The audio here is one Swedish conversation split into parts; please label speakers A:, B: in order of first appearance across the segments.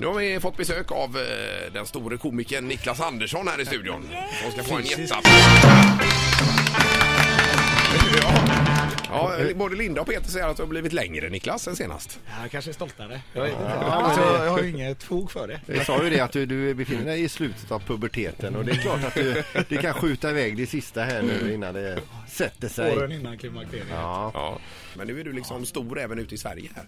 A: Nu har vi fått besök av eh, den store komikern Niklas Andersson här i studion. Som ska få en jätteapplåd. Ja. Ja, både Linda och Peter säger att du har blivit längre Niklas än senast.
B: Ja, kanske är stoltare. Jag, vet inte. Alltså, jag har ju inget fog för det.
C: Vi sa ju det att du, du befinner dig i slutet av puberteten och det är klart att du, det kan skjuta iväg det sista här nu innan det sätter sig.
B: Åren innan klimakteriet.
C: Ja,
A: Ja. Men nu är du liksom stor även ute i Sverige här.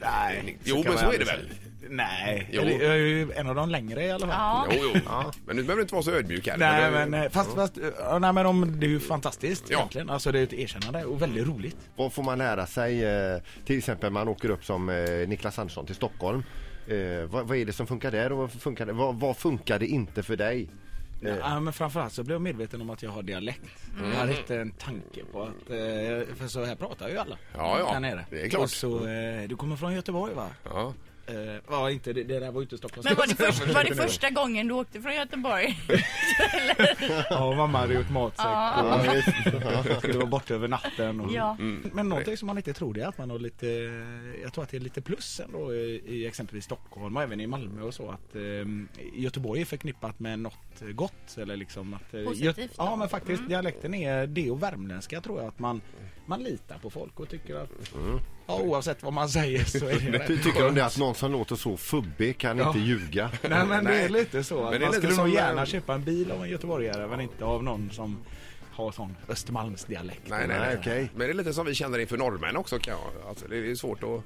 B: Nej.
A: Jo,
B: kan
A: men
B: man
A: så är det
B: aldrig
A: väl?
B: säga. Nej.
A: Jo.
B: Eller, Jag är ju en av de längre i alla fall.
D: Ja.
A: Jo, jo. Men nu behöver du inte vara så ödmjuk här.
B: Nej
A: Men
B: men
A: du-
B: eh, fast, fast ja, nej, men om, det är ju fantastiskt
A: Ja.
B: egentligen. Alltså det är ett erkännande och väldigt roligt.
C: vad får man lära sig? eh, Till exempel man åker upp som eh, Niklas Andersson till Stockholm. Eh, vad, vad är det som funkar där och vad funkar, det- vad, vad funkar det inte för dig? Eh.
B: Ja, men framförallt så blev jag medveten om att jag har dialekt.
A: Mm.
B: Jag hade inte en tanke på att, eh, för så här pratar ju alla.
A: Ja, ja.
B: Där nere.
A: Det är klart.
B: Och så, eh, du kommer från Göteborg va?
A: Ja.
B: Eh, ja, inte, det, det där var ju inte Stockholms
D: Men var det, först, var det första gången du åkte från Göteborg?
B: Ja, mamma hade gjort matsäck
C: Ja, visst.
B: och skulle vara borta över natten. Och...
D: Ja.
B: Men någonting som man inte tror det är att man har lite, jag tror att det är lite plus ändå i i exempelvis Stockholm och även i Malmö och så att eh, Göteborg är förknippat med något gott eller liksom att eh,
D: Positivt Mm.
B: Gö-
D: då.
B: Ja men faktiskt dialekten är det och värmländska tror jag att man, man litar på folk och tycker att ja, oavsett vad man säger så är det
C: Ty-
B: rätt.
C: Tycker du om det att någon som låter så fubbig kan inte
B: Ja.
C: ljuga?
B: Nej men det
A: Nej.
B: är lite så
A: Men det
B: att
A: är
B: man
A: lite
B: skulle
A: som
B: nog
A: en-
B: gärna köpa en bil av en göteborgare men inte av någon som har sån Östermalmsdialekt.
A: Nej, nej, nej.
C: Nej, okej.
A: Men det är lite som vi känner inför norrmän också. Kan jag. Alltså, det är svårt att...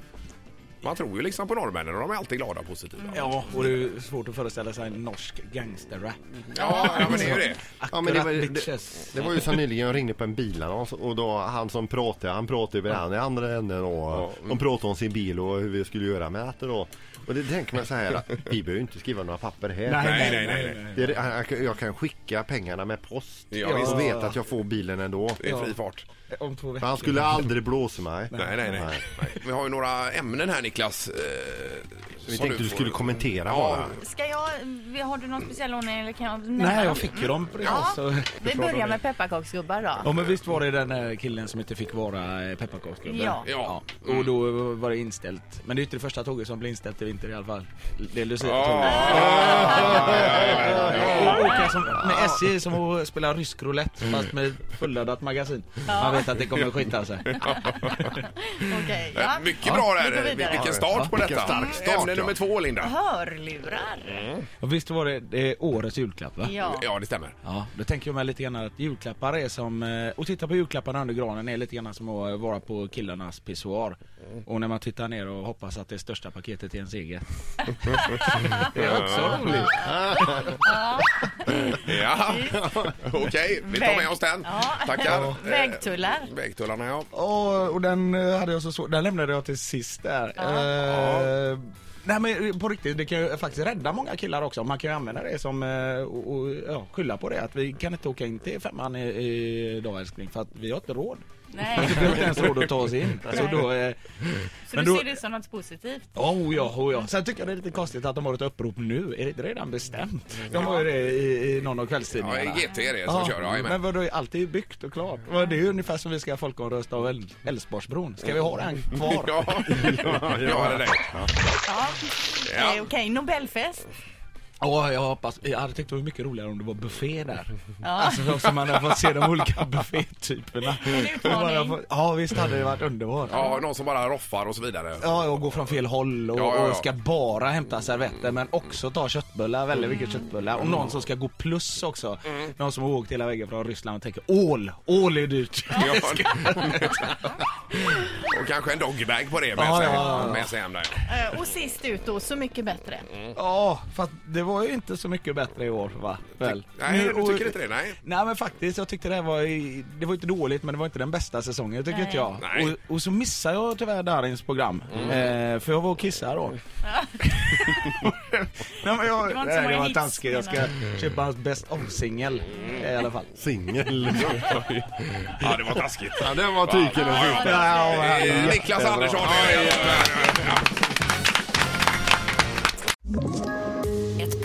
A: Man tror ju liksom på norrmännen och de är alltid glada och positiva.
B: Ja, och det är svårt att föreställa sig en norsk gangsterrap.
A: Ja, ja, men det är ju det.
C: Ja, men det, var, det,
B: bitches.
C: det var ju som nyligen jag ringde på en bilannons och då han som pratade, han pratade över han i andra änden och
A: mm.
C: de pratade om sin bil och hur vi skulle göra med det då. Och det tänker man så här, att vi behöver ju inte skriva några papper här.
A: Nej, nej, nej,
C: Det är, han- han kan- jag kan skicka pengarna med post
A: Ja, visst.
C: och veta att jag får bilen ändå.
A: Det är
B: Ja.
A: fri fart.
B: Om två
C: För
B: veckor.
C: han skulle aldrig blåsa mig.
A: Nej, nej, nej. nej. Vi har ju några ämnen här, Niklas. Eh,
C: Vi
A: som
C: tänkte du
A: får-
C: skulle kommentera
A: Ja,
C: bara.
D: Ska jag, eh, har du någon speciell ordning eller kan jag nämna
B: Nej,
D: dem?
B: jag fick ju dem precis.
D: Ja,
B: så-
D: Vi börjar med pepparkaksgubbar då.
B: Ja men visst var det den här killen som inte fick vara eh, pepparkaksgubbe?
D: Ja.
A: Ja.
C: Mm.
B: Och då eh, var det inställt. Men det är ju inte det första tåget som blir inställt i vinter i alla fall. Det är Lucia-tåget.
C: Ah.
A: Ah.
B: Och åka som, med SJ som att spela rysk roulette
C: Mm.
B: fast med fulladdat magasin. Man vet att det kommer skita sig.
D: Okej, ja.
A: Mycket bra
D: Vi går
A: där.
D: vidare.
A: Vilken start på
C: Vilken
A: detta.
C: stark start,
A: Ämne
C: ja.
A: nummer två, Linda.
D: Hörlurar.
B: Och visst var det, det är årets julklapp va?
D: Ja.
A: Ja, det stämmer.
B: Ja, då tänker jag mig lite grann att julklappar är som, eh, och titta på julklapparna under granen är lite grann som att eh, vara på killarnas pissoar. Och när man tittar ner och hoppas att det största paketet är ens eget. det är också roligt.
A: Ja, okej. Vi tar med oss den.
D: Ja.
A: Tackar.
D: Vägtullar.
A: Eh, Vägtullarna, ja.
B: Ja, och den eh, hade jag så svårt, den lämnade jag till sist där. Eh, Nej men på riktigt, det kan ju faktiskt rädda många killar också. Man kan ju använda det som, eh, och, och ja, skylla på det att vi kan inte åka in till femman i- idag älskling för att vi har inte råd.
D: Nej,
B: Vi har inte ens råd att ta oss in. Så då, eh,
D: så
B: Men
D: du
B: då-
D: ser det som något positivt?
B: Oh ja, oh ja. Sen tycker jag det är lite konstigt att de har ett upprop nu. Är det inte redan bestämt? De har ju det i, i någon av
A: Ja,
B: kvällstidningarna.
A: GT är det som
B: Ja,
A: kör. Ja, jajamän.
B: men vadå, allt är ju byggt och klart. Vad, Det är ju ungefär som vi ska folkomrösta av Äl- Älvsborgsbron. Ska vi ha den kvar?
A: Ja, ja, ja, det är det.
D: Ja. Eh,
A: Ja.
D: Okej, Nobelfest.
B: Ja, jag hoppas. Jag hade tyckt det var mycket roligare om det var buffé där.
D: Ja.
B: Alltså så man hade fått se de olika buffétyperna.
D: utmaning.
B: Man har fått- Ja, visst hade det varit underbart.
A: Ja, någon som bara roffar och så vidare.
B: Ja, och går från fel håll och,
A: Ja, ja, ja.
B: och ska bara hämta servetter men också ta köttbullar, väldigt mycket köttbullar. Och någon som ska gå plus också.
A: Mm.
B: Någon som har åkt hela vägen från Ryssland och tänker ål, ål är dyrt.
A: Ja. och kanske en doggybag på det med,
B: Ja,
A: sig,
B: ja, ja.
A: med sig hem där.
D: Eh, Och sist ut då, Så mycket bättre.
A: Mm.
B: Ja, för att det var ju inte så mycket bättre i år va? Väl?
A: Nej,
B: Nu-
A: du tycker
B: och-
A: inte det? Nej.
B: Nej men faktiskt, jag tyckte det här var, i- det var inte dåligt men det var inte den bästa säsongen tycker
D: Nej.
B: inte jag.
A: Nej.
B: Och, och så missade jag tyvärr Darins program. Eh, för jag var och kissade då. nej, men jag,
D: Det var inte så
B: nej,
D: många
B: det var
D: hits,
B: taskigt. Jag ska
D: menar
B: köpa hans Best of-singel eh, i alla fall.
C: Singel.
A: Ja, det var taskigt.
C: Ja, den var tyken att skjuta.
A: Eh, Niklas Andersson.
E: Ett